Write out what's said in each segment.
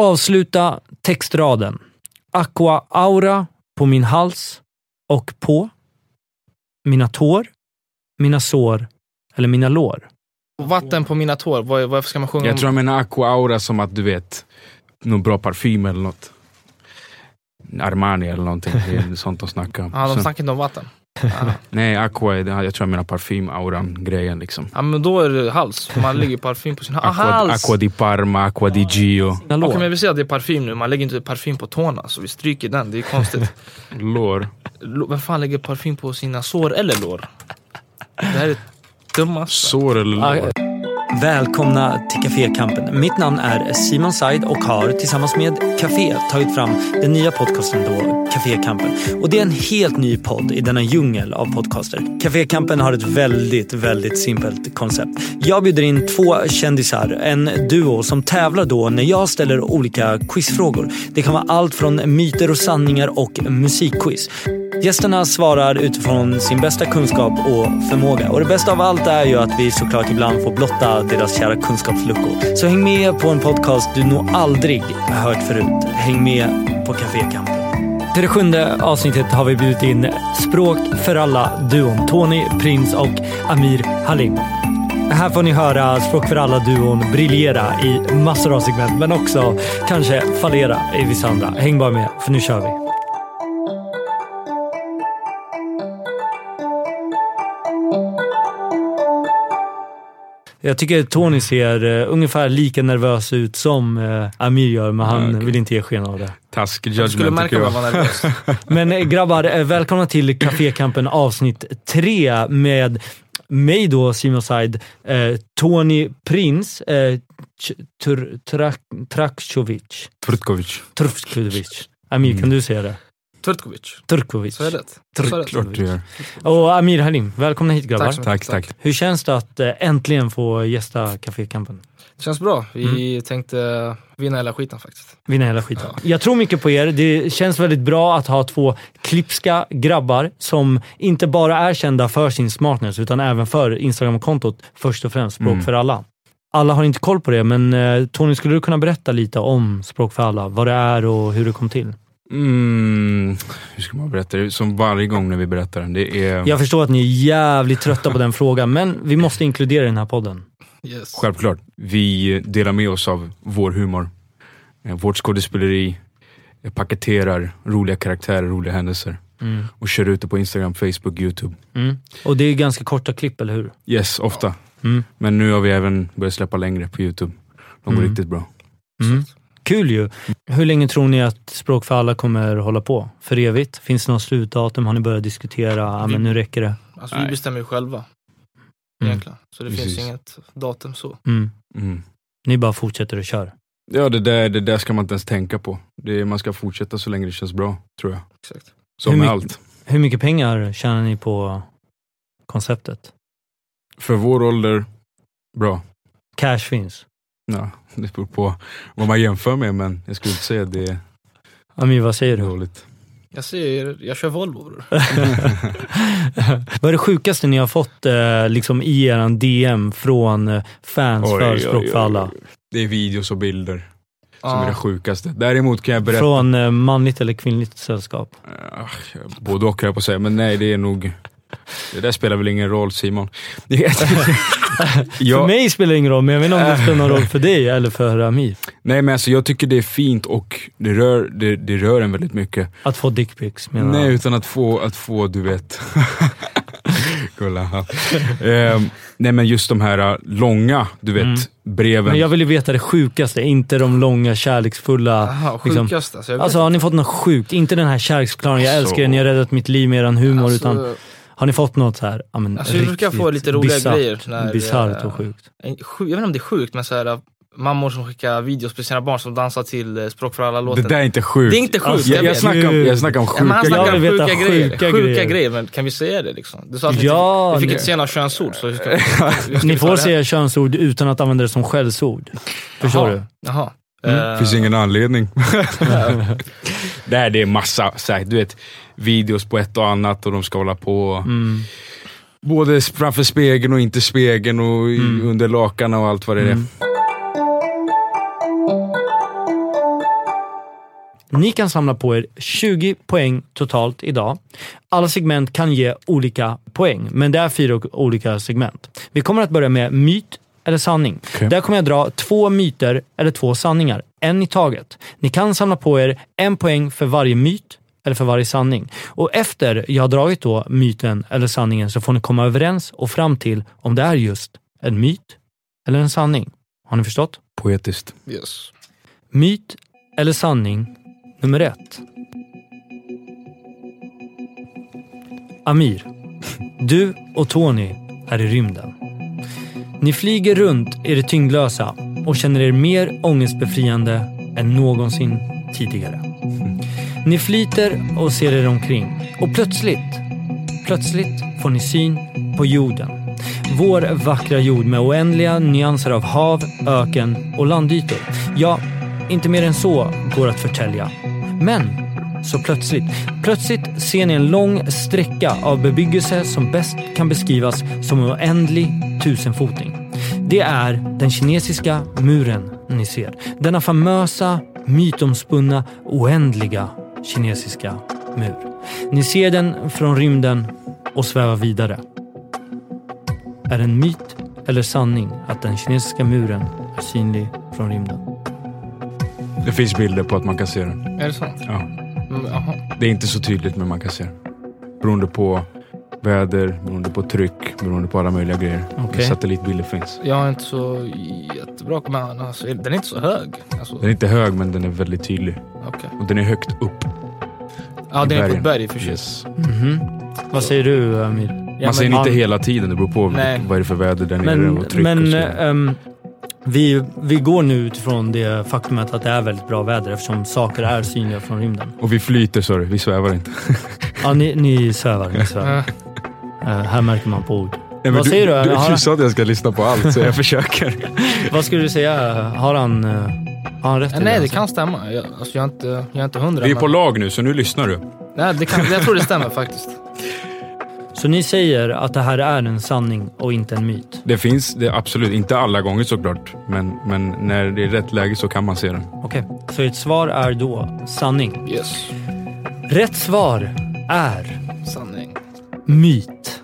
Avsluta textraden. Aqua aura på min hals och på mina tår, mina sår eller mina lår. Vatten på mina tår, vad- varför ska man sjunga Jag om? tror jag menar aqua aura som att du vet, någon bra parfym eller något. Armani eller någonting. Det är sånt de snackar om. Ja, de Så- snackar inte om vatten. nej, aqua, är det här- jag tror jag menar parfym, auran, grejen liksom. Ja, men då är det hals. Man lägger parfym på sin hals. Ah, Aqua, hals! aqua Okej, di Parma, aqua di Gio. Mina lår. men vi säger att det är parfym nu. Man lägger inte parfym på tårna, så vi stryker den. Det är konstigt. Lår. Lå- Vem fan lägger parfym på sina sår eller lår? Det här är dummaste. Sår eller lår. Välkomna till Cafékampen. Mitt namn är Simon Said och har tillsammans med Café tagit fram den nya podcasten då, Cafékampen. Och det är en helt ny podd i denna djungel av podcaster. Cafékampen har ett väldigt, väldigt simpelt koncept. Jag bjuder in två kändisar, en duo som tävlar då när jag ställer olika quizfrågor. Det kan vara allt från myter och sanningar och musikquiz. Gästerna svarar utifrån sin bästa kunskap och förmåga. Och det bästa av allt är ju att vi såklart ibland får blotta deras kära kunskapsluckor. Så häng med på en podcast du nog aldrig hört förut. Häng med på Cafékampen. Till det sjunde avsnittet har vi bjudit in Språk för alla-duon Tony Prins och Amir Halim. Här får ni höra Språk för alla-duon briljera i massor av segment, men också kanske fallera i vissa andra. Häng bara med, för nu kör vi. Jag tycker Tony ser eh, ungefär lika nervös ut som eh, Amir gör, men han Ja, okej. vill inte ge sken av det. Task Jag skulle judgment märka tycker om jag jag. var nervös. Men eh, grabbar, eh, välkomna till Cafékampen avsnitt 3 med mig då, Simon Said, eh, Tony Prins, eh, Ch- Tur- Trak- Trakcovic, Trutkovic. Turfkovic. Amir, kan du säga det? Tvrtkovic. Turkovic. Mm. Så är det. Så är det. Klart du gör. Och Amir Halim, välkomna hit grabbar. Tack så mycket. Tack, tack. Hur känns det att eh, äntligen få gästa Cafékampen? Det känns bra. Vi Mm. tänkte vinna hela skiten faktiskt. Vinna hela skiten. Jag tror mycket på er. Det känns väldigt bra att ha två klipska grabbar som inte bara är kända för sin smartness utan även för Instagram-kontot först och främst, Språk Mm. för alla. Alla har inte koll på det, men eh, Tony, skulle du kunna berätta lite om Språk för alla? Vad det är och hur det kom till? Mm, hur ska man berätta det? Som varje gång när vi berättar den. Det är Jag förstår att ni är jävligt trötta på den frågan, men vi måste inkludera den här podden. Yes. självklart. Vi delar med oss av vår humor. Eh, Vårt skådespeleri eh, paketerar roliga karaktärer, roliga händelser Mm. och kör ut det på Instagram, Facebook, YouTube. Mm. Och det är ganska korta klipp, eller hur? Yes, ofta. Mm. Men nu har vi även börjat släppa längre på YouTube. De går Mm. riktigt bra. Mm. Kul ju. Hur länge tror ni att Språk för alla kommer hålla på? För evigt? Finns det något slutdatum? Har ni börjat diskutera? Ja, men nu räcker det. Alltså, vi Nej. bestämmer ju själva Mm. egentligen. Så det Precis. finns inget datum så. Mm. Mm. Ni bara fortsätter och kör. Ja, det där, det där ska man inte ens tänka på. Det är, man ska fortsätta så länge det känns bra, tror jag. Exakt. Hur Som med mycket- allt. Hur mycket pengar tjänar ni på konceptet? För vår ålder, bra. Cash finns. Ja, det beror på vad man jämför med, men jag skulle inte säga att det är Amir, vad säger du? dåligt. Jag ser, jag kör Volvo bror. vad är det sjukaste ni har fått eh, liksom i er DM från eh, fans Oj, för oj, Språk för oj. alla? Det är videos och bilder som är det Ja. sjukaste. Däremot kan jag berätta... Från eh, manligt eller kvinnligt sällskap? Ah, både och höll jag på att säga, men nej det är nog... Det där spelar väl ingen roll Simon. För jag, mig spelar det ingen roll, men jag vet inte om det spelar någon roll för dig eller för Amir. nej men alltså jag tycker det är fint och det rör, det, det rör en väldigt mycket. Att få dickpics menar Nej, jag. utan att få, att få du vet. Kolla. Ehm, nej, men just de här äh, långa, du vet, Mm. breven. Men jag vill ju veta det sjukaste, inte de långa kärleksfulla. Aha, liksom- sjukaste. Alltså, jag vet Alltså har ni fått något sjukt? Inte den här kärleksförklaringen, jag älskar er, ni har räddat mitt liv med er humor. Alltså, utan, har ni fått något så här, ja, men, Alltså, vi brukar riktigt få lite roliga grejer när- eh, Bisarrt och sjukt. en sju- jag vet inte om det är sjukt men så här, mammor som skickar videos på sina barn som dansar till eh, Språk för det alla-låten. där är inte sjukt. Det är inte sjukt, Alltså, jag, jag, vet. snackar om, jag snackar om Ja, men sjuka han snackar Jag om vill veta sjuka grejer. sjuka Sjuka grejer. grejer. men kan vi säga det liksom? Du sa att vi Ja, inte- vi fick ni- inte säga några könsord. Så hur ska, vi- hur ska Ni vi får klara det? säga könsord utan att använda det som skällsord. Förstår Jaha. du? Mm, Jaha. Eh, Det finns ingen anledning. Eh, Nej, det är massa. Så här, du vet, videos på ett och annat och de ska hålla på. Mm. Både s- framför spegeln och inte spegeln Mm. och i- under lakan och allt vad det är. Mm. Ni kan samla på er 20 poäng totalt idag. Alla segment kan ge olika poäng, men det är fyra o- olika segment. Vi kommer att börja med myt eller sanning. Okej. Där kommer jag dra två myter eller två sanningar, en i taget. Ni kan samla på er en poäng för varje myt eller för varje sanning. Och efter jag har dragit då myten eller sanningen så får ni komma överens och fram till om det är just en myt eller en sanning. Har ni förstått? Poetiskt. Yes. Myt eller sanning nummer ett. Amir, du och Tony är i rymden. Ni flyger runt i det tyngdlösa och känner er mer ångestbefriande än någonsin tidigare. Ni flyter och ser er omkring och plötsligt, plötsligt får ni syn på jorden. Vår vackra jord med oändliga nyanser av hav, öken och landytor. Ja, inte mer än så går att förtälja. Men så plötsligt, plötsligt ser ni en lång sträcka av bebyggelse som bäst kan beskrivas som en oändlig tusenfoting. Det är den kinesiska muren ni ser. Denna famösa, mytomspunna, oändliga kinesiska mur. Ni ser den från rymden och svävar vidare. Är det en myt eller sanning att den kinesiska muren är synlig från rymden? Det finns bilder på att man kan se den. Är det sant? Ja. Mm, aha. Det är inte så tydligt, men man kan se den. Beroende på väder, beroende på tryck, beroende på alla möjliga grejer. Okej. Satellitbilder finns. Jag har inte så jättebra koll, men alltså, den är inte så hög. Alltså, Den är inte hög, men den är väldigt tydlig. okej. Och den är högt upp. Ja, I den är på bergen. ett berg i och för sig. Yes. Mhm. Vad säger du Amir? Ja, Man ser den men- inte Ja. hela tiden. Det beror på Nej. vilket, vad det är för väder där nere Men, och tryck och men så. ehm, vi, vi går nu utifrån det faktumet att det är väldigt bra väder eftersom saker är synliga från rymden. Och vi flyter, sorry. Vi svävar inte. Ja, ni, ni svävar. Ni svävar. Eh, Eh, här märker man på ord. Nej, men Vad säger du? Du, Har- du sa att jag ska lyssna på allt, så jag försöker. Vad skulle du säga? Har han, eh, har han rätt i Nej, det alltså? kan stämma. Jag, alltså, jag, är inte, jag är inte hundra. Vi är på men- lag nu, så nu lyssnar du. Nej, det kan, jag tror det stämmer faktiskt. Så ni säger att det här är en sanning och inte en myt? Det finns, det är absolut. Inte alla gånger såklart. Men, men när det är rätt läge så kan man se den. Okej, så ert svar är då sanning. Yes. Rätt svar är Sanning. Myt.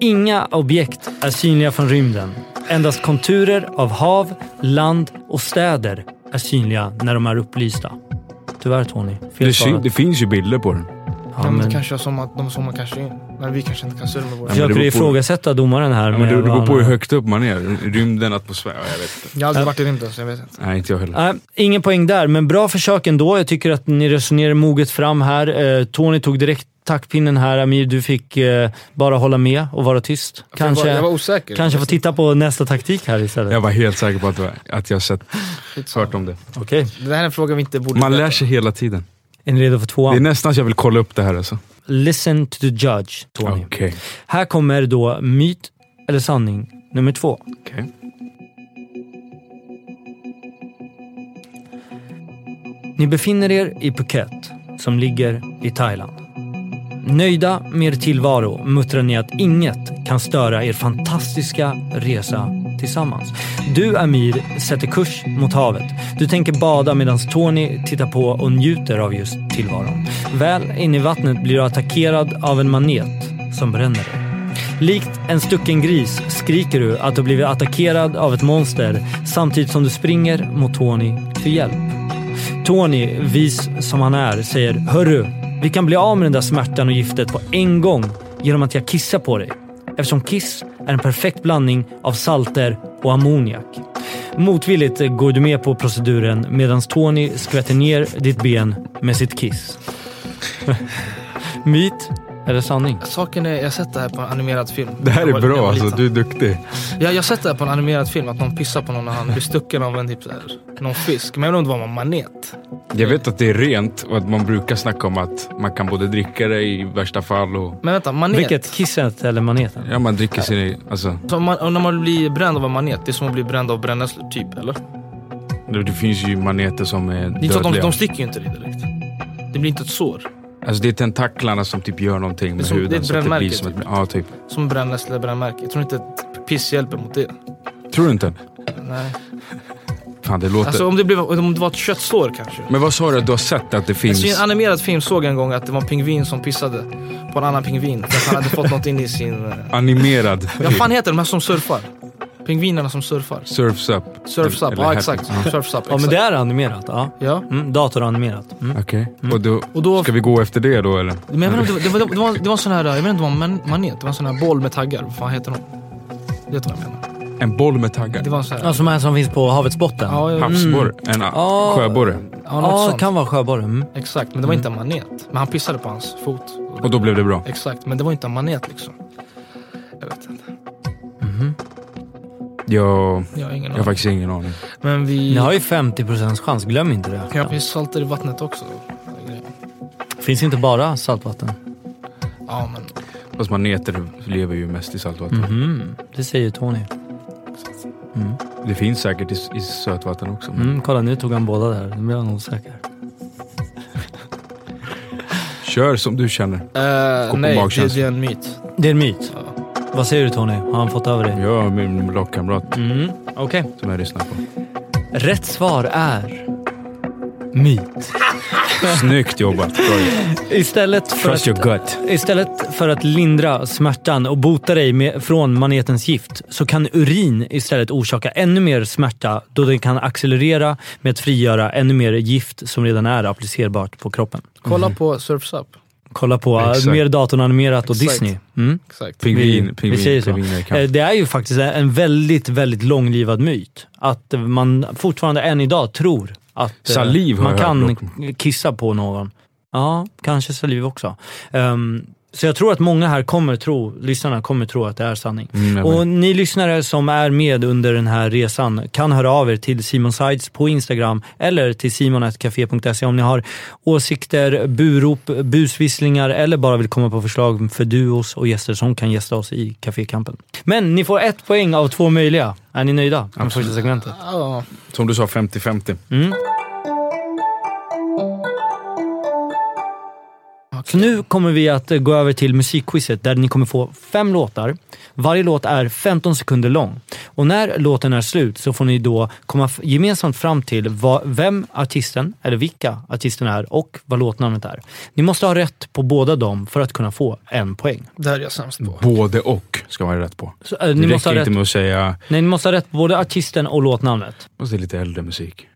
Inga objekt är synliga från rymden. Endast konturer av hav, land och städer är synliga när de är upplysta. Tyvärr Tony, fel Det, syn, svarat. det finns ju bilder på den. Ja, Ja, men men- det kanske är som att de zoomar kanske in. Men vi kanske inte kan se det med våra... Ja, men det Försöker du beror på- ifrågasätta domaren här? Ja, men med det, det vad beror han- på hur högt upp man är. Rymden, atmosfär. ja, Jag vet inte. Jag har aldrig varit i rymden så jag vet inte. Nej, inte jag heller. Nej, ingen poäng där, men bra försök ändå. Jag tycker att ni resonerar moget fram här. Eh, Tony tog direkt taktpinnen här. Amir, du fick eh, bara hålla med och vara tyst. Jag Kanske, var, jag var osäker. kanske få titta på nästa taktik här istället. Jag var helt säker på att, det var- att jag sett, Skitsamma. hört om det. Okej, Det här är en fråga vi inte borde Man veta. lär sig hela tiden. är ni redo för tvåan? Det är nästan så jag vill kolla upp det här alltså. Listen to the judge, Tony. Okej. Här kommer då myt eller sanning nummer två. Okej. Ni befinner er i Phuket som ligger i Thailand. Nöjda med er tillvaro muttrar ni att inget kan störa er fantastiska resa tillsammans. Du, Amir, sätter kurs mot havet. Du tänker bada medan Tony tittar på och njuter av just tillvaron. Väl inne i vattnet blir du attackerad av en manet som bränner dig. Likt en stucken gris skriker du att du blivit attackerad av ett monster samtidigt som du springer mot Tony för hjälp. Tony, vis som han är, säger Hörru, vi kan bli av med den där smärtan och giftet på en gång genom att jag kissar på dig. Eftersom kiss är en perfekt blandning av salter och ammoniak. Motvilligt går du med på proceduren medan Tony skvätter ner ditt ben med sitt kiss. Myt eller sanning? Saken är, jag har sett det här på en animerad film. Det här Jag var- är jag var liksom- bra alltså. liten. Du är duktig. Ja, jag har sett det här på en animerad film, att någon pissar på någon när han blir stucken av en typ så här, någon fisk. Men jag undrar om det var en manet. Jag vet att det är rent och att man brukar snacka om att man kan både dricka det i värsta fall och... Men vänta, manet. Vilket? Kisset eller maneten? Ja, man dricker sin... Alltså, Så man, och när man blir bränd av en manet, det är som att bli bränd av brännässlor typ, eller? Det det det finns ju maneter som är är inte så att de, dödliga. de sticker ju inte dig direkt. Det blir inte ett sår. Alltså det är tentaklarna som typ gör någonting Det är med som- det är huden. ett så att det blir brännmärke, som ett... typ. Ja, typ. Som brännässlor, brännmärke. Jag tror inte att piss hjälper mot det. Tror du inte? Nej. Fan, det låter... Alltså om det, blev, om det var ett köttslår kanske. men vad sa du att du har sett att det finns? Alltså, I en animerad film såg jag en gång att det var en pingvin som pissade på en annan pingvin. För att han hade fått något in i sin... eh, Animerad Vad fan heter de här som surfar? Pingvinerna som surfar. Surfs up. Surfs up, Eller ja hack- exakt. Ja. Surfs up, Ja, men exakt. det är animerat. Ja. Ja. Mm, datoranimerat. Mm. Okej, och, då, Och då, ska vi gå efter det då eller? men jag menar, det, var- det, var, det, var, det var en sån här, jag vet inte vad man, manet, det var en sån här boll med taggar. Vad fan heter de? Du vet vad jag menar? En boll med taggar? Det Mm. var en sån här, Ja, som här som finns på havets botten. ja, jag- Havsborre? En Ja. Ah. sjöborre? ja, något Ja, sånt. det kan vara sjöborre. Mm. Exakt, men det var inte en manet. Men han pissade på hans fot. Och då blev det bra? Exakt, men det var inte en manet liksom. Jag vet inte, Jag, jag har ingen jag har aning. faktiskt ingen aning. Men Ni vi... har ju 50 chans, glöm inte det. Ja, vi saltar i vattnet också. Finns inte bara saltvatten. Ja, men... Fast maneter lever ju mest i saltvatten. Mhm, Det säger ju Tony. Det finns säkert i, i sötvatten också. Men Mm, kolla, nu tog han båda där. Nu blev han osäker. Kör som du känner. Eh, på nej, det, magkänsla. det är en myt. Det är en myt. Ja. Vad säger du Tony? Har han fått över det? Jag och min lagkamrat Mm, okej. som jag lyssnar på. Rätt svar är myt. Snyggt jobbat! Bra jobbat. Istället för, Trust att, your gut. istället för att lindra smärtan och bota dig med, från manetens gift så kan urin istället orsaka ännu mer smärta då den kan accelerera med att frigöra ännu mer gift som redan är applicerbart på kroppen. Kolla Mm. på Surfs Up. Kolla på eh, Exakt. mer datoranimerat och Exakt. Disney. Mm. Exakt. Vi- Pingvin, pingvin, vi säger så. pingviner kan. Eh, Det är ju faktiskt en väldigt, väldigt långlivad myt. Att man fortfarande än idag tror att eh, Saliv har man jag kan hört kissa på någon. Ja, kanske saliv också. Ehm, så jag tror att många här kommer tro, lyssnarna kommer tro att det är sanning. Mm, jag Och ni lyssnare som är med under den här resan kan höra av er till Simon Sides på Instagram eller till simonatcafe.se om ni har åsikter, burop, busvisslingar eller bara vill komma på förslag för duos och gäster som kan gästa oss i Cafékampen. Men ni får ett poäng av två möjliga. Är ni nöjda med första segmentet? Ja, Som du sa, 50-50. Mm. Så nu kommer vi att eh, gå över till musikquizet där ni kommer få fem låtar. Varje låt är 15 sekunder lång. Och när låten är slut så får ni då komma f- gemensamt fram till vad, vem artisten, eller vilka artisten är och vad låtnamnet är. Ni måste ha rätt på båda dem för att kunna få en poäng. det här är jag sämst på. Både och ska man ju rätt på. Så, eh, Det ni, måste ha räcker rätt, inte med att säga, nej, ni måste ha rätt på både artisten och låtnamnet. och det är lite äldre musik.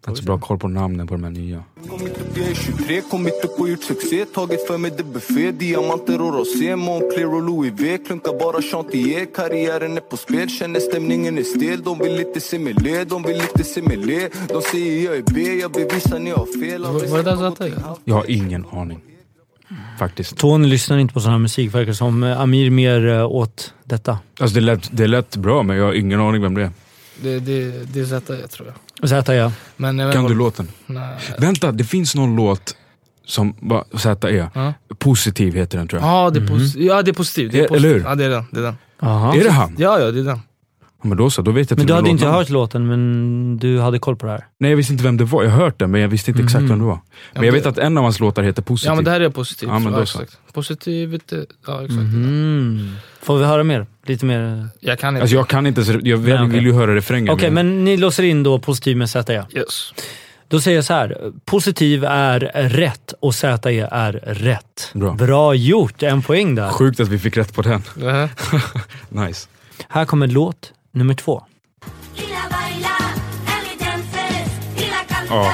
Jag har inte så bra koll på namnen på de här nya. Kommit upp, jag är 23, kommit upp och gjort succé Tagit för mig det buffé, diamanter och rosé Moncler och Louis V, klunkar bara Chantier Karriären är på spel, känner stämningen är stel De vill inte se mig le, de vill inte se mig le De säger jag är B, jag bevisar ni har fel Var- var det där Zlatan? Jag har ingen aning. Faktiskt. Tony lyssnar inte på sån här musik verkar som. Eh, Amir mer eh, åt detta. Alltså det lät, det lät bra men jag har ingen aning vem det är. Det, det, det är Zeta jag tror jag. Zäta ja. Men jag vet Kan inte du vad- låten? Nej. Vänta, det finns någon låt som vad Z är. Ja. Positiv heter den tror jag. Ja, det är posi- ja, det är positivt. Det är Mhm. Ja, eller positivt. hur? Ja, det är den. Det är den. Jaha. Är det han? Ja, ja, det är den. Ja, men då så, då vet jag Men till du och med hade inte låten. hört låten men du hade koll på det här. Nej jag visste inte vem det var, jag har hört den men jag visste inte exakt vem det var. Men jag det- vet att en av hans låtar heter Positiv. Ja, men det här är positivt. Ja, men då så. exakt. Positivt. eh, Ja, exakt. Mhm. Får vi höra mer? Lite mer? Jag kan inte. Alltså jag kan inte, så jag Nej, vill, okej. vill ju höra refrängen. Okej, men ni låser in då positiv med ZE. Yes. Då säger jag så här. Positiv är rätt och ZE är rätt. Bra. Bra gjort! En poäng där. Sjukt att vi fick rätt på den. Det här. Nice. Här kommer låt nummer två. Lila baila, dale dances, lila canta. Ja.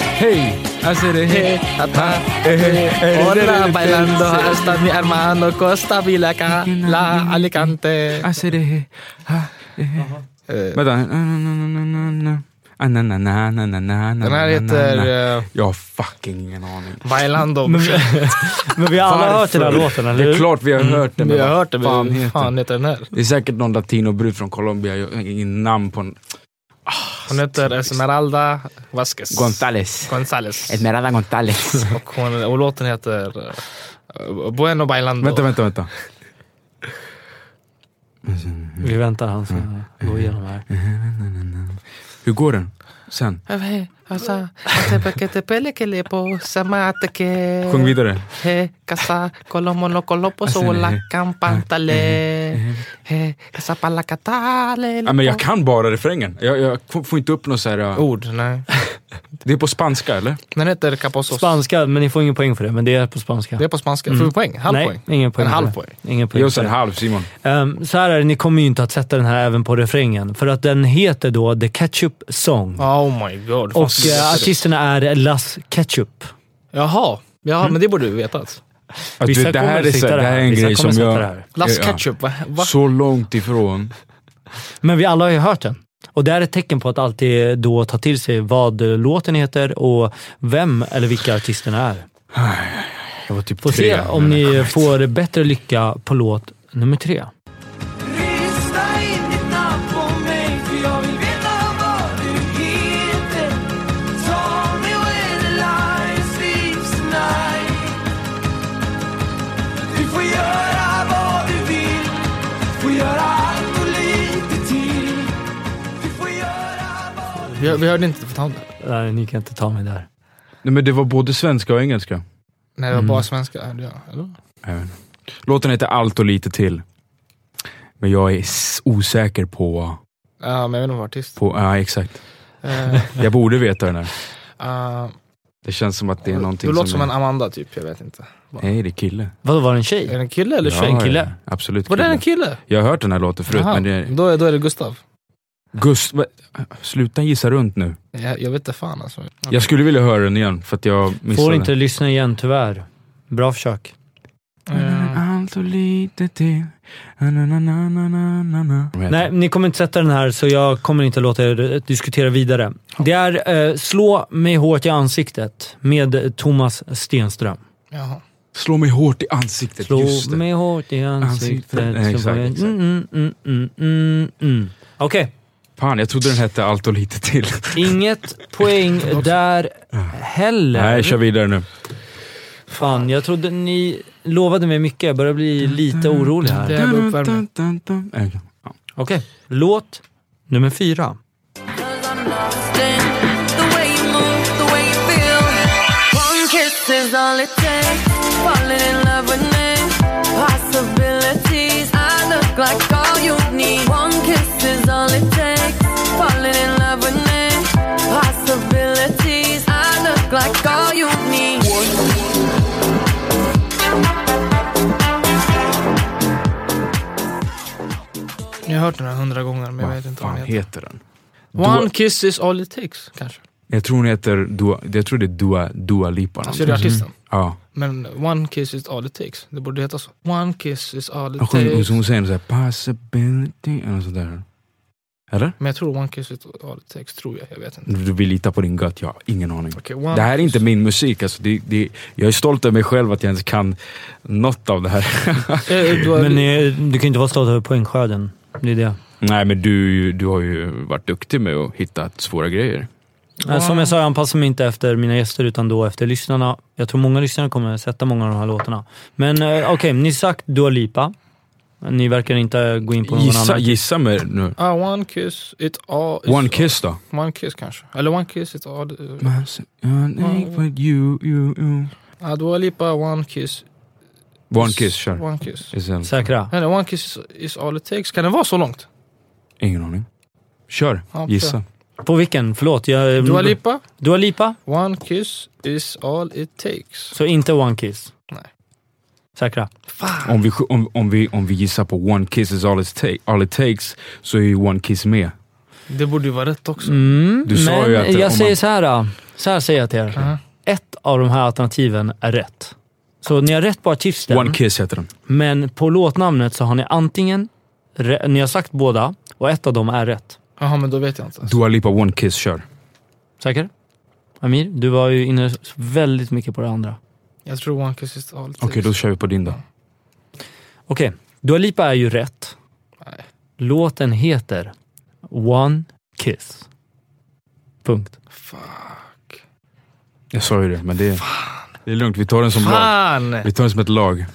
Hej! Alltså det hej. Eh, Hola bailando hasta mi hermano Costa Vilaca la Alicante. Alltså det hej. Eh, Vänta. Den Den här heter eh, Jag har fucking ingen aning. Bailando. Men vi har alla hört den här Varför? låten, eller Det är hur? Mm. klart vi har hört den. Vi har vad hört det, fan men heter vad fan heter den här? Det är säkert någon latinobrud från Colombia. Jag har ingen namn på en. Hon heter Esmeralda Vasquez. Gonzales. Gonzales. Esmeralda Gonzales. Och, hon, och låten heter eh, Bueno Bailando. vänta, vänta, vänta. Mm. Vi väntar han ska gå igenom här. Hur går den? Sen? Alltså, på samateke. Sjung vidare. He kasa kolomolo kolopo sola kampantale. He kasa palakatale. Ja, men jag kan bara refrängen. Jag, jag f- får inte upp något så här... Oh. uh, Ord, nej. Det är på spanska eller? Den heter Caposos. Spanska, men ni får ingen poäng för det. Men det är på spanska. Det är på spanska. Mm. Får vi poäng? Halv Nej, poäng? ingen poäng. En för halv det. poäng. Ingen Ge poäng. oss för en det. halv Simon. Ehm, så här är det, ni kommer ju inte att sätta den här även på refrängen. För att den heter då The Ketchup Song. Oh my god. fan, och så eh, vet jag det. artisterna är Las Ketchup. Jaha. Ja, Mm. men det borde alltså. vi vetat. Att Vissa du, det, kommer här är, så, sitta det här där. är en Vissa grej som kommer sitta jag... där. Las Ja. ketchup, va? va? Så långt ifrån. Men vi alla har ju hört den. Och det här är ett tecken på att alltid då ta till sig vad eh, låten heter och vem eller vilka artisterna är. Jag var typ Får tre. Mm. se om ni får bättre lycka på låt nummer tre. Lyssna inte knappt på mig för jag vill veta vad du heter Tell me where the lion sleeps tonight Du får göra vad du vill Får göra allt och lite till Du får göra vad du vill Vi, vi hörde inte för tanden. Nej, ni kan inte ta mig där. Nej, men det var både svenska och engelska. Nej, Mm. det var bara svenska. hörde jag. Eller? Jag vet inte. Låten heter Allt och lite till. Men jag är s- osäker på... Ja, men jag vet inte vad artist. på ja, exakt. Eh, Jag borde veta den här. eh, Det känns som att det är någonting du låter som är- en Amanda typ, jag vet inte. Nej, det är kille. Vad var det en Är det tjej? en kille eller Ja, tjej? ja, kille? Absolut Var det en kille. kille? Jag har hört den här låten förut, Jaha, men det är... då, är- då är det Gustav. Gust... va- Sluta gissa runt nu. Jag, jag vet inte fan alltså. Jag skulle vilja höra den igen, för att jag missade Får inte lyssna igen tyvärr. Bra försök. Eh, Allt och lite till. Na, na, na, na, na, na, na. Nej, ni kommer inte sätta den här så jag kommer inte låta er diskutera vidare. Det är eh, Slå mig hårt i ansiktet med Thomas Stenström. jaha. Slå mig hårt i ansiktet. Slå Just det. mig hårt i ansiktet. Ansiktet. Nej, så får exakt, jag- exakt. Mm, mm, mm, mm, mm. Okej, Fan, jag trodde den hette Allt och lite till. inget poäng där heller. Nej, kör vidare nu. Fan, jag trodde ni lovade mig mycket. Jag börjar bli lite orolig här. Det Okej, är bara uppvärmning. Okej. låt nummer fyra. Cause I'm lost in the way you move, the way you feel. One kiss is all it takes. Falling in love with me. Possibilities, I look like all you need. One kiss is all it takes. Falling in love with me. Possibilities, I look like all you need. Jag har hört den här hundra gånger men jag vet Vad inte vad fan den heter. heter den? One Dua- kiss is all it takes, kanske. Jag tror den heter Dua, jag tror det är Dua, Dua Lipa. Så är Alltså, det artisten. Ja. Men one kiss is all it takes. Det borde heta så. One kiss is all Hon, it sjunger- takes. hon säger såhär possibility eller något sådär. Eller? Men jag tror one kiss is all it takes, tror jag. Jag vet inte. Du vill lita på din gut, jag har ingen aning. Okej, one Det här är kiss- inte min musik, alltså det, det, jag är stolt över mig själv att jag ens kan något av det här. Eh, du har- Men eh, du kan inte vara stolt över poängskörden. Det är det. Nej men du, du har ju varit duktig med att hitta svåra grejer. Eh, Som jag sa, jag anpassar mig inte efter mina gäster utan då efter lyssnarna. Jag tror många lyssnare kommer sätta många av de här låtarna. Men eh, okej, ni sagt Dua Lipa. Ni verkar inte gå in på någon Gissa, annan. gissa mig nu. Ah, one kiss it all is One kiss då? One kiss kanske. Eller one kiss it all... Ah, Dua Lipa, one kiss. One kiss, kör. One kiss. Is en- Säkra? Nej, One kiss is, is all it takes. Kan det vara så långt? Ingen aning. Kör, Ja, gissa. På vilken? Förlåt. Jag, Dua Lipa, Dua Lipa? one kiss is all it takes. Så inte One Kiss? Nej. Säkra? Om vi, sj- om, om, vi, om vi gissar på one kiss is all it, ta- all it takes så är ju one kiss med. Det borde ju vara rätt också. Mm, Du sa men ju att om jag man- säger så här. då. Så här säger jag till er. Ja. Ett av de här alternativen är rätt. Så ni har rätt på artisten, One kiss heter den. men på låtnamnet så har ni antingen... re- Ni har sagt båda och ett av dem är rätt. Jaha, men då vet jag inte. Alltså. Dua Lipa one kiss, kör. Säker? Amir, du var ju inne väldigt mycket på det andra. Jag tror one kiss is all it takes. Okej, då kör vi på din då. Okej, Dua Lipa är ju rätt. Nej. Låten heter One Kiss. Punkt. Fuck. Jag sa ju det, men det, det är lugnt. Vi tar den som lag. Fan! Vi tar den som ett lag.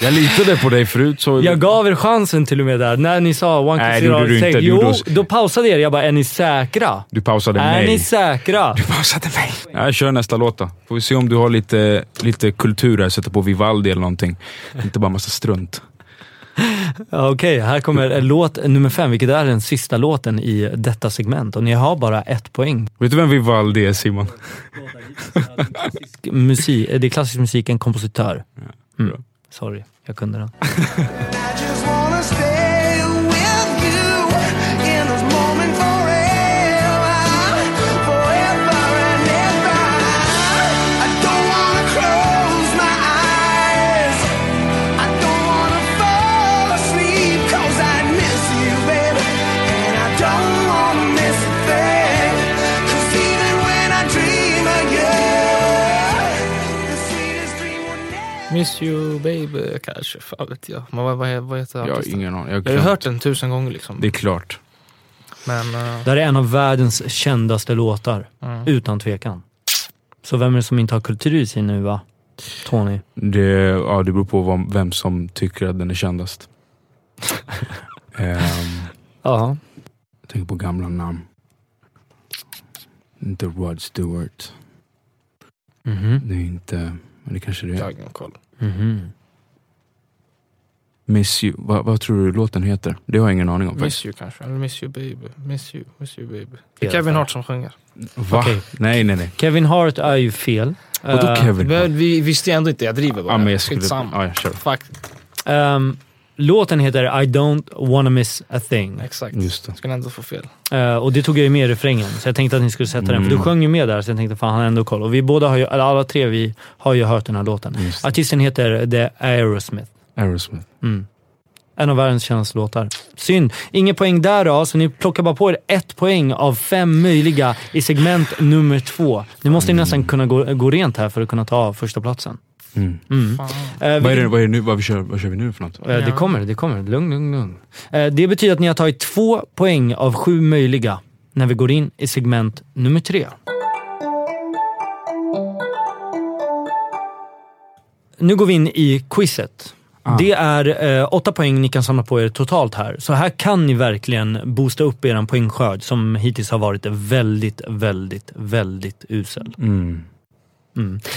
Jag litade på dig förut så... Jag gav er chansen till och med där. När ni sa one kiss Nej, it det gjorde all du sex. inte. Du gjorde Jo, oss- då pausade jag er. Jag bara, är ni säkra? Du pausade Är mig. ni säkra? Pausade mig. Jag kör nästa låt då. Får vi se om du har lite, lite kultur här. Sätta på Vivaldi eller någonting. Inte bara massa strunt. Ja, Okej, här kommer låt nummer fem, vilket är den sista låten i detta segment. Och ni har bara ett poäng. Vet du vem Vivaldi är Simon? Musik, det är klassisk musik, en kompositör. bra. Mm. Sorry, jag kunde den. I just wanna stay with you in this moment forever, forever and ever. I don't wanna close my eyes. I don't wanna fall asleep 'cause I miss you, baby, and I don't wanna miss a thing. 'Cause even when I dream of you, the sweetest dream will never. Miss you baby, kanske. Fan vet jag. Men vad, vad, vad heter Jag har artisten? ingen aning. Jag Jag har kan- ju hört den tusen gånger liksom. Det är klart. Men eh, mm. Det här är en av världens kändaste låtar. Utan tvekan. Så vem är det som inte har kultur i sig nu va? Tony? Det, ja, det beror på vad, vem som tycker att den är kändast. Ehm, Ja. jag tänker på gamla namn. Inte Rod Stewart. Mhm. Det är inte... Men det kanske det jag har är. ingen koll. Mhm. Miss You. Va, vad tror du låten heter? Det har jag ingen aning om faktiskt. Miss you kanske. Eller miss you baby. Miss you, miss you baby. Det Fel är Kevin där. Hart som sjunger. Va? Okej. Nej, nej, nej. Kevin Hart är ju fel. Vadå Eh, Kevin? Men vi visste ju ändå inte, jag driver bara. Ja, men jag skulle... Skitsamma. Ja, jag kör. Fuck, ehm, låten heter I don't wanna miss a thing. exakt. Just det. Skulle ändå få fel. Eh, och det tog jag ju med i refrängen, så jag tänkte att ni skulle sätta den. För du Mm. sjöng ju med där, så jag tänkte fan han har ändå koll. Och vi båda har ju, eller alla tre vi har ju hört den här låten. Just det. Artisten heter The Aerosmith. Aerosmith. Mm. En av världens kändaste låtar. Synd. Ingen poäng där då, så ni plockar bara på er ett poäng av fem möjliga i segment nummer två. Ni måste ju nästan kunna gå, gå rent här för att kunna ta första platsen. Mm. Mm. Eh, Fan. Vad är det, vilken- vad är det nu? Vad, vi kör, vad kör vi nu för något? Eh, Det Ja. kommer, det kommer. Lugn, lugn, lugn. Eh, Det betyder att ni har tagit två poäng av sju möjliga när vi går in i segment nummer tre. Nu går vi in i quizet. Det är eh, åtta poäng ni kan samla på er totalt här. Så här kan ni verkligen boosta upp er poängskörd som hittills har varit väldigt, väldigt, väldigt usel. Mm.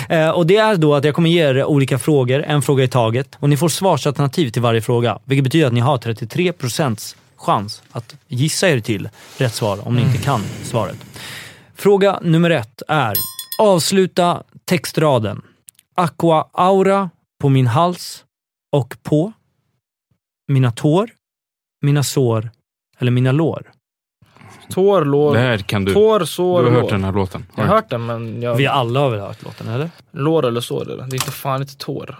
Eh, och det är då att jag kommer ge er olika frågor, en fråga i taget. Och ni får svarsalternativ till varje fråga. Vilket betyder att ni har 33% chans att gissa er till rätt svar om ni inte kan svaret. Fråga nummer ett är Avsluta textraden. Aqua aura på min hals och på mina tår, mina sår eller mina lår. Tår, lår, Det här kan du. tår, Du sår, har hört lår. den här låten? Jag har hört den men jag... Vi alla har väl hört låten, eller? Lår eller sår är det. Det är inte fan inte tår.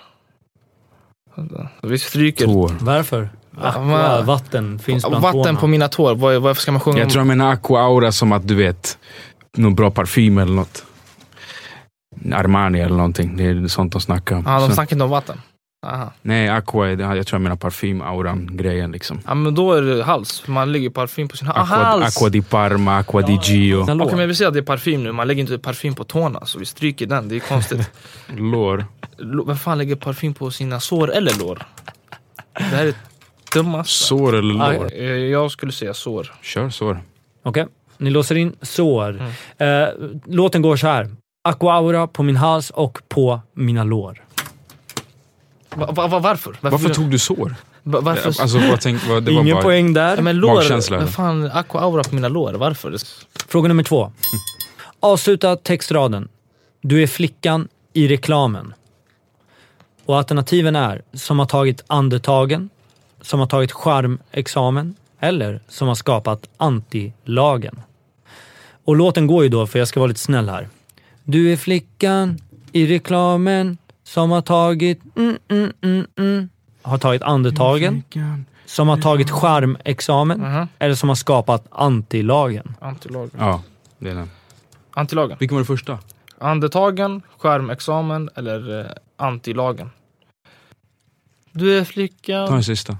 Vi stryker. Tår. Varför? Aqua, men- vatten finns bland Vatten tårna. på mina tår. Vad- Varför ska man sjunga Jag om- tror jag menar aqua aura som att du vet, någon bra parfym eller något. Armani eller någonting. Det är sånt de snackar om. Ja, de Så- snackar inte om vatten. Aha. nej, aqua, är det- jag tror jag menar parfym, auran, grejen liksom. Ja, men då är det hals. för Man lägger ju parfym på sin ha- ah, Aqua, hals. aqua di Parma, aqua di Gio. Mina lår. Okej, men vi säger att det är parfym nu. Man lägger inte parfym på tårna, så vi stryker den. Det är konstigt. Lår. Lå- Vem fan lägger parfym på sina sår eller lår? Det här är dummaste. Sår eller lår? Aj. Eh, Jag skulle säga sår. Kör sår. Okej, ni låser in sår. Mm. Eh, låten går så här. Aquaura på min hals och på mina lår. Va, va, va, varför? Varför tog du sår? va, varför? Alltså, vad tänk, vad, det var Ingen bara... poäng ja, där. men lår, magkänsla, vem eller? fan, aqua aura på mina lår, varför? Fråga nummer två. Avsluta textraden. Du är flickan i reklamen. Och alternativen är som har tagit andetagen, som har tagit charmexamen eller som har skapat antilagen. Och låten går ju då, för jag ska vara lite snäll här. Du är flickan i reklamen som har tagit mm, mm, mm, mm. Har tagit Mm, andetagen, som har tagit charmexamen Mhm. eller som har skapat antilagen. Antilag. Ja, det är den. Antilagen. Vilken var det första? Andetagen, skärmexamen eller eh, antilagen? Du är flicka. Ta den sista.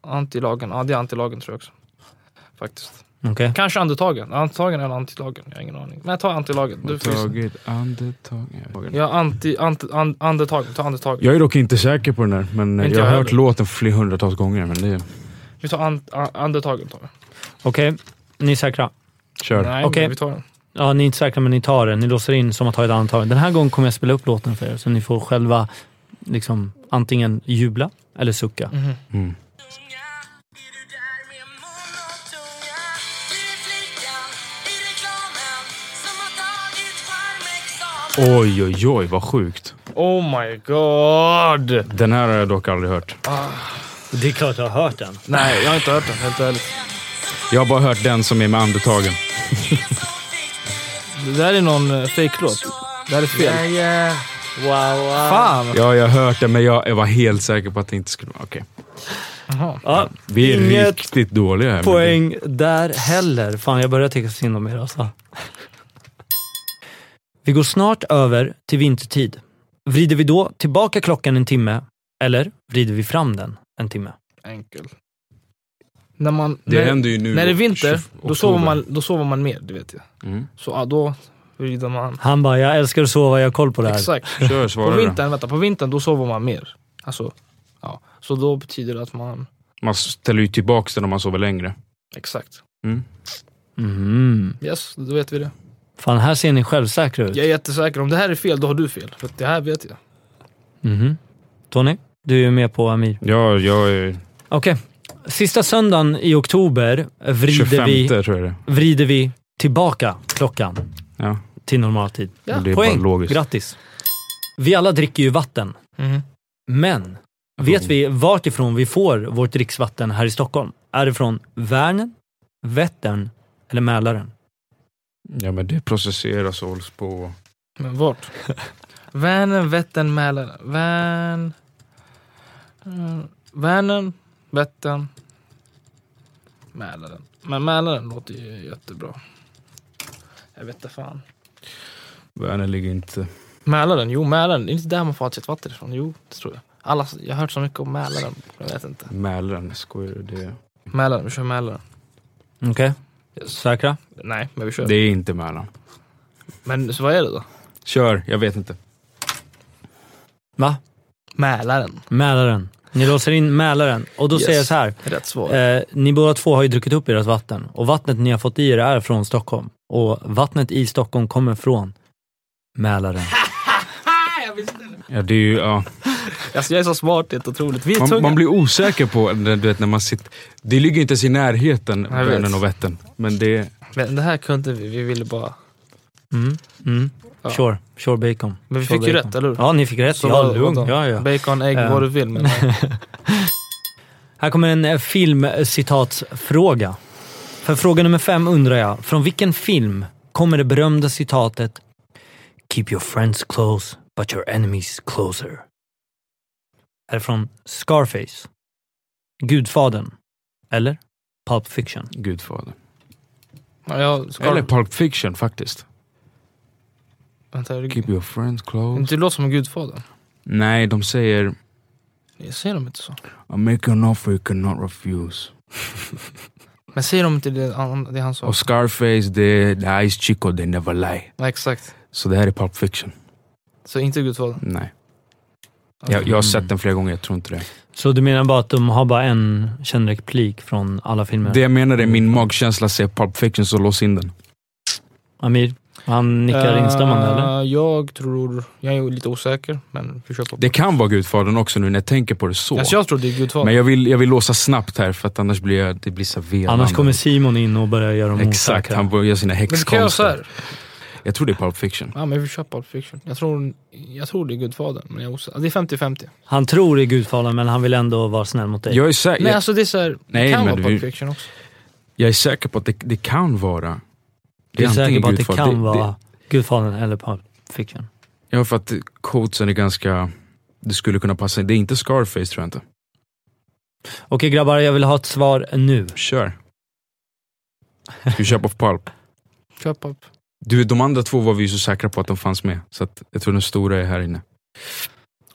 Antilagen, ja det är antilagen tror jag också. Faktiskt. Okej. Kanske andetagen. Antagen eller antilagen. Jag har ingen aning. Men jag tar antilagen. Du får gissa. Taget andetag. Ja, anti, anti, an, andetagen. Ta andetagen. Jag är dock inte säker på den här, men Inte jag har jag hört heller. låten flera hundratals gånger. Men det Vi tar an, an, andetagen. Tar vi. Okej, ni är säkra? kör. Nej, Okej. vi tar den. Ja, ni är inte säkra men ni tar den. Ni låser in som att ta ett antagande. Den här gången kommer jag spela upp låten för er så ni får själva liksom antingen jubla eller sucka. Mm. Oj, oj, oj, vad sjukt. Oh my god! Den här har jag dock aldrig hört. Det är klart jag har hört den. Nej, jag har inte hört den helt ärligt. Jag har bara hört den som är med andetagen. Det där är någon eh, fejklåt. Det här är fel. Wow, wow. Fan! Ja, jag har hört den, men jag, jag var helt säker på att det inte skulle vara... Okej. Jaha. Ja, Vi är Inget riktigt dåliga här. men poäng där heller. Fan, jag börjar tycka synd om er alltså. Vi går snart över till vintertid. Vrider vi då tillbaka klockan en timme eller vrider vi fram den en timme? Enkel. När man... Det, det när, händer ju nu. när det är vinter, 20 då sover, oktober. man, då sover man mer, det vet jag. Mm. Så ja, då vrider man. Han bara, jag älskar att sova, jag har koll på det här. Exakt. Kör, På svara då. vintern, vänta, på vintern då sover man mer. Alltså, ja. Så då betyder det att man... Man ställer ju tillbaka den om man sover längre. Exakt. Mm. Mhm. Yes, då vet vi det. Fan, här ser ni självsäkra ut. Jag är jättesäker. Om det här är fel, då har du fel. För att det här vet jag. Mhm. Tony, du är med på Amir. Ja, jag är Okej. Sista söndagen i oktober vrider 25 vi, tror jag det är. vrider vi tillbaka klockan Ja. till normaltid. Ja, det är Poäng! bara logiskt. Grattis! Vi alla dricker ju vatten, Mhm. men vet vi vart ifrån vi får vårt dricksvatten här i Stockholm? Är det från Värnen, Vättern eller Mälaren? Ja, men det processeras och hålls på. Men vart? Vänern, Vättern, Mälaren. Vän... Mm, Vänern, Vättern, Mälaren. Men Mälaren låter ju jättebra. Jag vet inte fan. Värnen ligger inte... Mälaren, jo Mälaren. Det är inte där man får allt sitt vatten ifrån. Jo, det tror jag. Alla, jag har hört så mycket om Mälaren. Jag vet inte. Mälaren, skojar du? Det, Mälaren, vi kör Mälaren. Okej? Säkra? Nej, men vi kör. det är inte Mälaren. Men så vad är det då? Kör, jag vet inte. Va? Mälaren. Mälaren. Ni låser in Mälaren. Och då Yes. säger jag så här. Rätt svar. Eh, ni båda två har ju druckit upp ert vatten och vattnet ni har fått i er är från Stockholm. Och vattnet i Stockholm kommer från Mälaren. Ja, det är ju, ja. Alltså jag är så smart, det är otroligt. Vi är man, tunga. man blir osäker på när- du vet, när man sitter... Det ligger ju inte ens i närheten, Jag vet. Vänern och Vättern. Men det... Men det här kunde vi, vi ville bara... Mm, mm. Ja. Sure, sure bacon. Men vi sure fick ju bacon. rätt, eller hur? Ja, ni fick rätt. Så ja, vad- lugn. vadå? Ja, ja. Bacon, ägg, Eh. vad du vill. Men Här kommer en eh, filmcitatsfråga. För fråga nummer fem undrar jag, från vilken film kommer det berömda citatet “Keep your friends close, but your enemies closer”? Är det från Scarface, Gudfadern eller Pulp Fiction? Gudfader. Ja, jag ska... Eller Pulp Fiction faktiskt. Vänta, är det... Keep your friends close. Det låter som en gudfader. Nej, de säger Jag säger de inte så? I make an offer you cannot refuse. Men säger de inte det han, det han sa? Och Scarface, the, the eyes chico, they never lie. Ja, exakt. Så det här är Pulp Fiction. Så inte gudfadern? Nej. Jag, jag har sett den flera gånger, jag tror inte det. Så du menar bara att de har bara en känd replik från alla filmer? Det jag menar är min magkänsla säger Pulp Fiction, så lås in den. Amir, han nickar Eh, instämmande eller? Jag tror... Jag är lite osäker, men vi kör på. Det kan vara Gudfadern också nu när jag tänker på det så. Alltså jag tror det är gudfadern. Men jag vill, jag vill låsa snabbt här för att annars blir jag, det blir så velande. Annars kommer Simon in och börjar göra dem Exakt, osäkra. han börjar göra sina Men vi kan göra så häxkonster. här. Jag tror det är Pulp Fiction. Ja, men vi kör Pulp Fiction. Jag tror, jag tror det är Gudfadern, men jag är osäker. Alltså, Det är 50-50. Han tror i Gudfadern men han vill ändå vara snäll mot dig. Jag är, säker, Nej, jag, alltså det är så här, Nej, det kan men vara Pulp du- Fiction också. jag är säker på att det, det kan vara... Du är säker antingen på att det Gudfadern. kan vara Gudfadern eller Pulp Fiction? Ja, för att coachen är ganska... Det skulle kunna passa in. Det är inte Scarface tror jag inte. Okej grabbar, jag vill ha ett svar nu. Kör. Ska vi köpa på Pulp? Kör Pulp. Du, vet, de andra två var vi ju så säkra på att de fanns med. Så att jag tror den stora är här inne.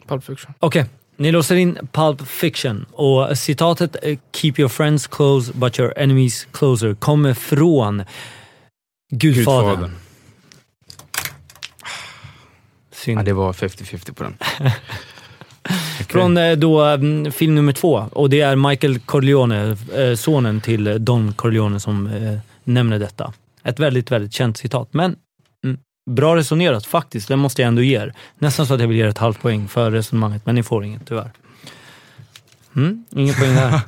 Pulp Fiction. Okej, Ni låser in Pulp Fiction och citatet eh, “Keep your friends close but your enemies closer” kommer från Gudfadern. Gudfadern. Synd. Ja, det var 50-50 på den. Från eh, då mm, film nummer två och det är Michael Corleone, eh, sonen till eh, Don Corleone som eh, nämner detta. Ett väldigt, väldigt känt citat. Men mm, bra resonerat faktiskt, det måste jag ändå ge er. Nästan så att jag vill ge er ett halvt poäng för resonemanget, men ni får inget tyvärr. Mm, ingen poäng där.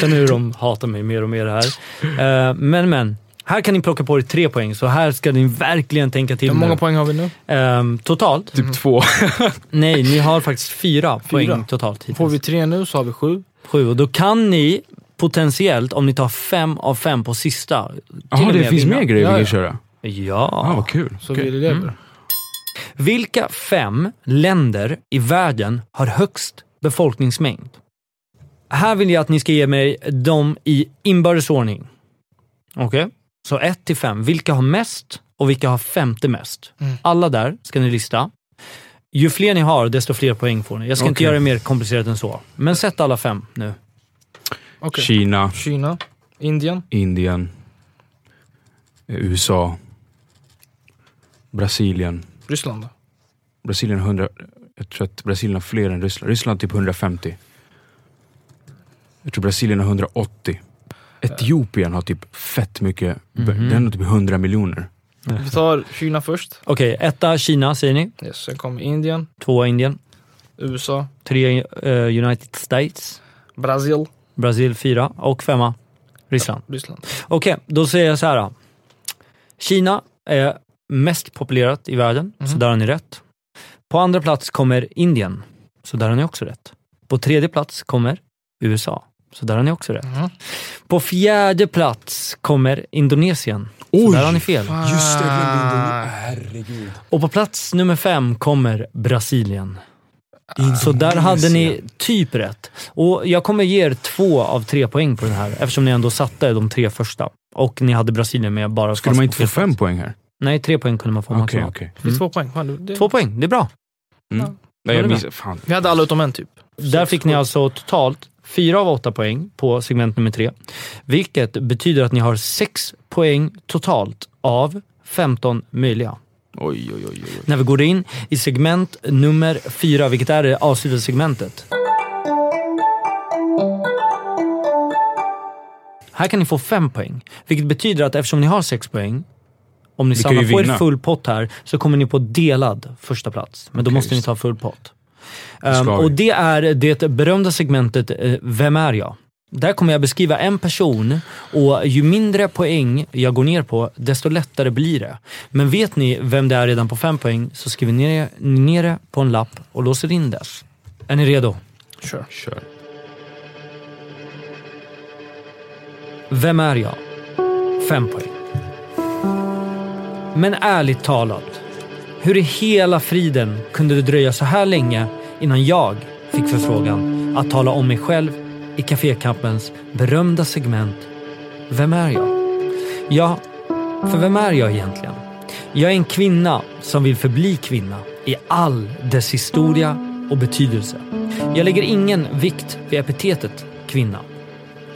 Sen hur de hatar mig mer och mer här. Eh, men, men. Här kan ni plocka på er tre poäng, så här ska ni verkligen tänka till. Hur många nu. poäng har vi nu? Ehm, totalt? Typ två. Nej, ni har faktiskt fyra, poäng totalt hittills. Får vi tre nu så har vi sju. Sju, och då kan ni potentiellt, om ni tar fem av fem på sista, till Jaha, och det med finns vinna. mer grejer Ja, vi ja. kan köra. Ah, Ja. vad kul. Så Okej. Mm. vi lever. Vilka fem länder i världen har högst befolkningsmängd? Här vill jag att ni ska ge mig dem i inbördes ordning. Okej? Så ett till fem. Vilka har mest och vilka har femte mest? Mm. Alla där ska ni lista. Ju fler ni har, desto fler poäng får ni. Jag ska inte Okej. göra det mer komplicerat än så. Men sätt alla fem nu. Okej. Kina, Kina, Indien, Indien, eh, USA, Brasilien. Ryssland. Brasilien har 100, jag tror att Brasilien har fler än Ryssland. Ryssland har typ 150. Jag tror Brasilien har 180. Etiopien har typ fett mycket. Mhm. Den har typ 100 miljoner. Vi tar Kina först. Okej, etta Kina säger ni. Yes, sen kommer Indien, Tvåa Indien. USA, Tre eh, United States. Brasil, Brasil fyra. Och femma Ryssland. Ryssland. Okej, då säger jag så här. då. Kina är mest populerat i världen, så där har ni rätt. På andra plats kommer Indien, så där har ni också rätt. På tredje plats kommer USA, så där har ni också rätt. Mhm. På fjärde plats kommer Indonesien, så Oj, där har ni fel. Just det, Ah. Herregud. Och på plats nummer fem kommer Brasilien. Så där Ah, hade ni typ rätt. Och jag kommer ge er två av tre poäng på den här eftersom ni ändå satte de tre första. Och ni hade Brasilien med bara... Skulle fast man på inte få fel fem plats. poäng här? Nej, tre poäng kunde man få Okej, maximalt. okej. Det är två poäng. Fan, det, Två poäng, det är bra. Mm. Nej, Var det jag missade. Fan. Vi hade alla utom en typ. Där fick ni sju. alltså totalt fyra av åtta poäng på segment nummer tre. Vilket betyder att ni har sex poäng totalt av 15 möjliga. Oj, oj, oj. oj. när vi går in i segment nummer fyra, vilket är det avslutade segmentet. Här kan ni få fem poäng, vilket betyder att eftersom ni har sex poäng, om ni Vi kan samlar ju på er vinna. full pott här, så kommer ni på delad första plats. Men då Okej, måste ni just ta full pott. ska Ehm, vi. och det är det berömda segmentet eh, Vem är jag? Där kommer jag beskriva en person och ju mindre poäng jag går ner på, desto lättare blir det. Men vet ni vem det är redan på fem poäng så skriver ni ner- ner det på en lapp och låser in det. Är ni redo? Kör. Kör. Vem är jag? Fem poäng. Men ärligt talat, hur i hela friden kunde det dröja så här länge innan jag fick förfrågan att tala om mig själv i Cafékampens berömda segment Vem är jag? Ja, för vem är jag egentligen? Jag är en kvinna som vill förbli kvinna i all dess historia och betydelse. Jag lägger ingen vikt vid epitetet kvinna.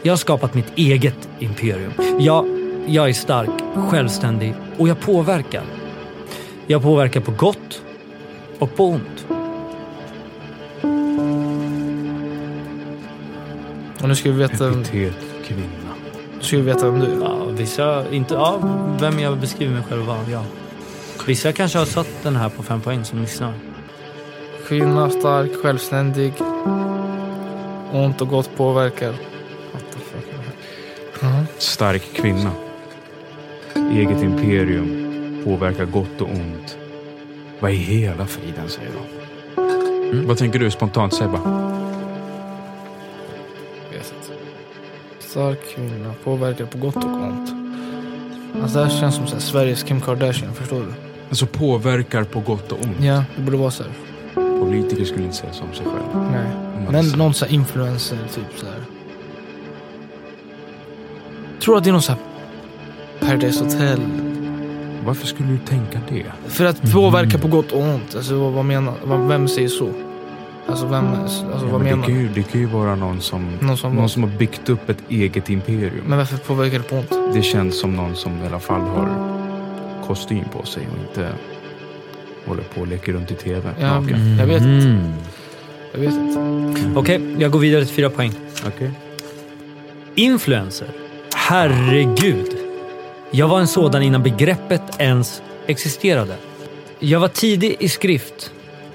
Jag har skapat mitt eget imperium. Jag, jag är stark, självständig och jag påverkar. Jag påverkar på gott och på ont. Och nu ska vi veta, nu Epitet kvinna. ska vi veta vem du är. Ja, vissa inte... Ja, vem jag beskriver mig själv vara. Ja. Vissa kanske har satt den här på fem poäng som lyssnar. Kvinna, stark, självständig. Ont och gott påverkar. What the fuck är det här? Stark kvinna. Eget imperium. Påverkar gott och ont. Vad i hela friden säger de? Mm. Vad tänker du spontant Sebba? Vet inte. Stark kvinna påverkar på gott och ont. Alltså det här känns som så här, Sveriges Kim Kardashian, förstår du? Alltså påverkar på gott och ont. Ja, det borde vara så här. Politiker skulle inte säga så om sig själv. Nej. Om man Men säger- någon sån här influencer, typ så här. Tror att det är någon sån här Paradise Hotel. Varför skulle du tänka det? Alltså, Mm. För att påverka på gott och ont. Alltså vad, vad menar, vad, vem säger så? Alltså vem, alltså Ja, vad men menar det, kan du? ju, det kan ju vara någon som, Någon som- någon som har byggt upp ett eget imperium. Men varför påverkar det på ont? Det känns som någon som i alla fall har kostym på sig och inte håller på och leker runt i tv. Ja, naken. Jag vet inte. Mm. Jag vet inte. Okej, jag går vidare till fyra poäng. Okej. Influencer. Herregud. Jag var en sådan innan begreppet ens existerade. Jag var tidig i skrift,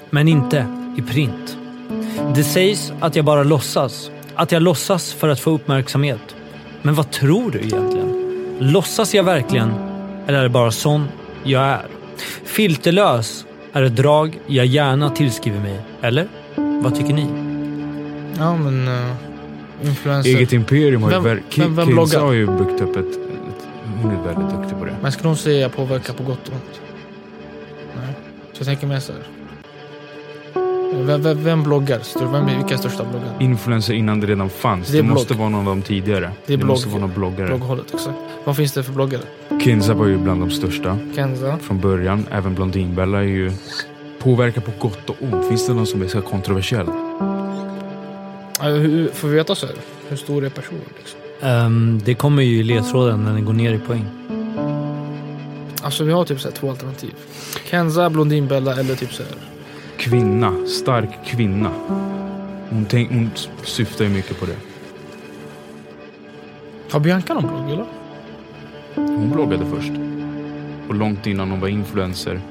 men inte i print. Det sägs att jag bara låtsas. Att jag låtsas för att få uppmärksamhet. Men vad tror du egentligen? Låtsas jag verkligen? Eller är det bara sån jag är? Filterlös är ett drag jag gärna tillskriver mig. Eller? Vad tycker ni? Ja, men... eh, influencer. Eget imperium har ju... Alltså, Vem- vem- Vem, vem Kinsa bloggar? har ju byggt upp ett, ett... Hon är väldigt duktig på det. Men jag skulle nog säga att jag påverkar på gott och ont. Nej. Så jag tänker mer så här. Vem, vem, vem bloggar? Stör- Vem, vilka är största Mm. bloggar? Influencer innan det redan fanns. Det Det, är blogg. måste vara någon av dem tidigare. Det är måste blogg. vara någon bloggare. Blogghållet, exakt. Vad finns det för bloggare? Kinsa var ju bland de största Kenza? från början. Även Blondinbella är ju... Påverkar på gott och ont. Finns det någon som är så här kontroversiell? Ja, hur- Får vi veta så här? Hur stor är personen liksom? Ehm, det kommer ju i ledtråden när ni går ner i poäng. Alltså vi har typ så här två alternativ. Kenza, Blondinbella eller typ så här. Kvinna. Stark kvinna. Hon, tänk, hon syftar ju mycket på det. Har Bianca någon blogg eller? Hon bloggade först. Och långt innan hon var influencer.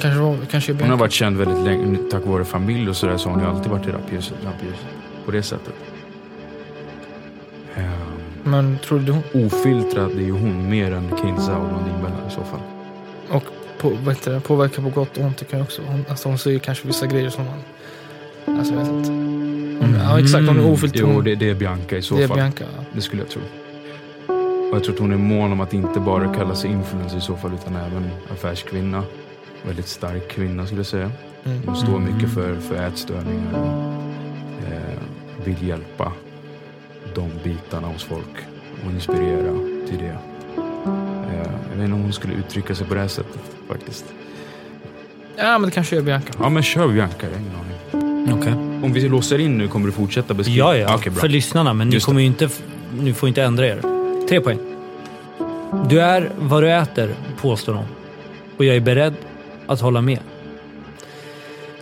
Kanske, var, kanske är Hon Bianca. har varit känd väldigt länge tack vare familj och sådär så har hon ju alltid varit i rappljuset. rappljuset. På det sättet. Ehm, Men tror du hon? ofiltrad är ju hon mer än Kinza och Blondinbella i så fall. Och på, vad heter det, påverkar på gott och ont det kan ju också vara. Hon, alltså hon säger kanske vissa grejer som man... Alltså jag vet inte. Hon, Ja exakt, hon är ofiltrad. Jo, det, det är Bianca i så det är fall. Bianca. ja. Det skulle jag tro. Och jag tror att hon är mån om att inte bara kalla sig influencer i så fall utan även affärskvinna. Väldigt stark kvinna skulle jag säga. Mm. Hon står mycket för, för ätstörningar och eh, vill hjälpa de bitarna hos folk och inspirera till det. Eh, jag vet inte om hon skulle uttrycka sig på det här sättet faktiskt. Ja men det kanske är Bianca. Ja men kör Bianca, jag har ingen aning. Okej. Om vi låser in nu, kommer du fortsätta beskriva? Ja, ja. Ah, Okej, bra. för lyssnarna, men ni, Just kommer ju inte, f- ni får inte ändra er. Tre poäng. Du är vad du äter, påstår de. Och jag är beredd att hålla med.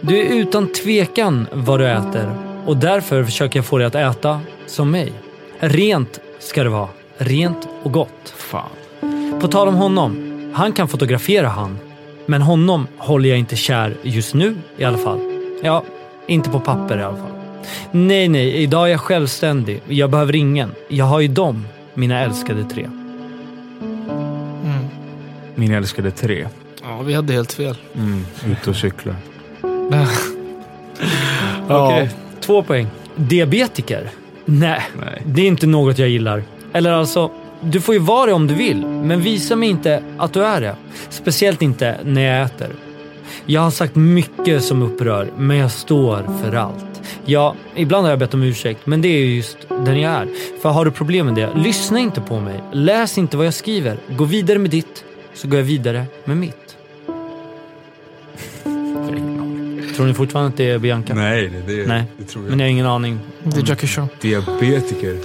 Du är utan tvekan vad du äter och därför försöker jag få dig att äta som mig. Rent ska det vara. Rent och gott. Fan. På tal om honom. Han kan fotografera han. Men honom håller jag inte kär just nu i alla fall. Ja, inte på papper i alla fall. Nej, nej, idag är jag självständig. Jag behöver ingen. Jag har ju dem, mina älskade tre. Mm. Min älskade tre. Ja vi hade helt fel. Mm. Ute och cyklar. Okej, två poäng. Diabetiker? Nej, Nej. det är inte något jag gillar. Eller alltså, du får ju vara det om du vill, men visa mig inte att du är det. Speciellt inte när jag äter. Jag har sagt mycket som upprör, men jag står för allt. Ja, ibland har jag bett om ursäkt, men det är ju just den jag är. För har du problem med det, lyssna inte på mig. Läs inte vad jag skriver. Gå vidare med ditt, så går jag vidare med mitt. Tror ni fortfarande att det är Bianca? Nej, det, det, Nej. det tror Men jag har ingen aning. Det är Jackie Chan. Diabetiker.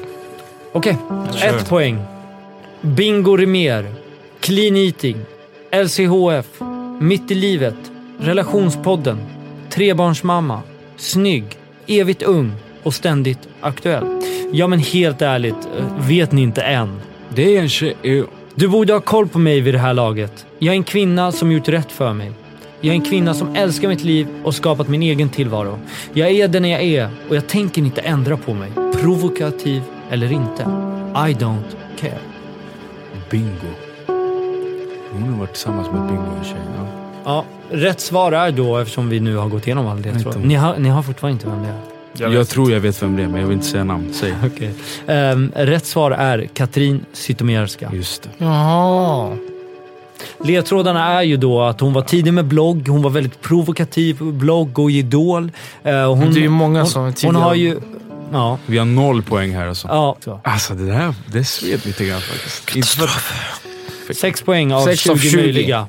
Okej, Kör. ett poäng. Bingo Rimér. Clean Eating. LCHF. Mitt i livet. Relationspodden. Trebarnsmamma. Snygg. Evigt ung. Och ständigt aktuell. Ja, men helt ärligt. eh, Vet ni inte än? Det är en tjej... eh, Du borde ha koll på mig vid det här laget. Jag är en kvinna som gjort rätt för mig. Jag är en kvinna som älskar mitt liv och skapat min egen tillvaro. Jag är den jag är och jag tänker inte ändra på mig. Provokativ eller inte. I don't care. Bingo. Hon har varit tillsammans med Bingo en tjej. Ja. Ja, rätt svar är då, eftersom vi nu har gått igenom all det, tror jag. Ni har, ni har fortfarande inte vem det är. Jag, tror jag vet vem det är, men jag vill inte säga namn. Säg. Okej. Ehm, rätt svar är Katrin Zytomierska. Just det. Jaha. Ledtrådarna är ju då att hon var tidig med blogg, hon var väldigt provokativ på blogg och i Idol. Eh, och hon, Det är ju många hon, som är Hon tidiga. har ju... Ja. Vi har noll poäng här alltså. ja så. Alltså det där, det sved lite grann faktiskt. Inte för att, Sex poäng av Sex 20, av 20. möjliga.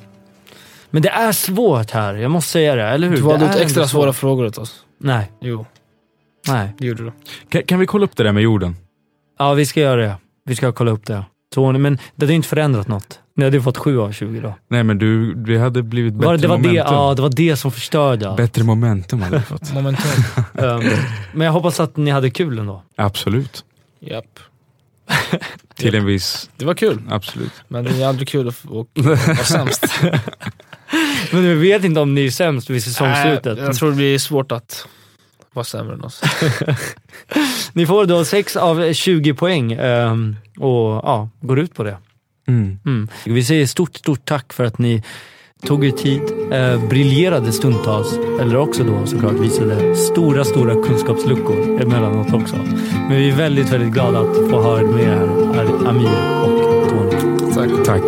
Men det är svårt här, jag måste säga det. Eller hur? Du Det valde är ut extra ändå svåra svårt. frågor åt oss. Nej, Jo, nej. det gjorde du. Kan, kan vi kolla upp det där med jorden? Ja, vi ska göra det. Vi ska kolla upp det. Tony, men det hade ju inte förändrat något. Ni hade ju fått 7 av 20 då. Nej men du, det hade blivit bättre Var, det, var det, momentum. ja, det var det som förstörde allt. Bättre momentum hade vi fått. Momentum. Ehm, men jag hoppas att ni hade kul ändå. Absolut. Japp. Till en viss... Det var kul, Absolut. men det är aldrig kul att f- och vara sämst. Men vi vet inte om ni är sämst vid säsongslutet. Äh, jag tror det blir svårt att vara sämre än oss. Ni får då 6 av 20 poäng ehm, och ja, går ut på det. Mm. Mm. Vi säger stort, stort tack för att ni tog er tid, eh, briljerade stundtals, eller också då såklart visade stora, stora kunskapsluckor emellanåt också. Men vi är väldigt, väldigt glada att få ha er med här, Amir och Tony. Tack.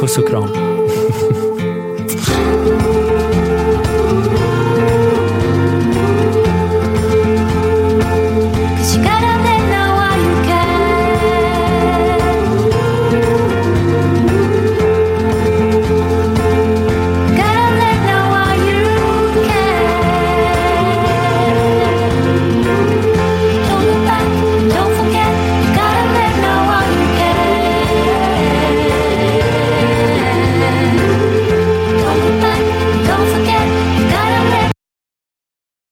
Puss och kram.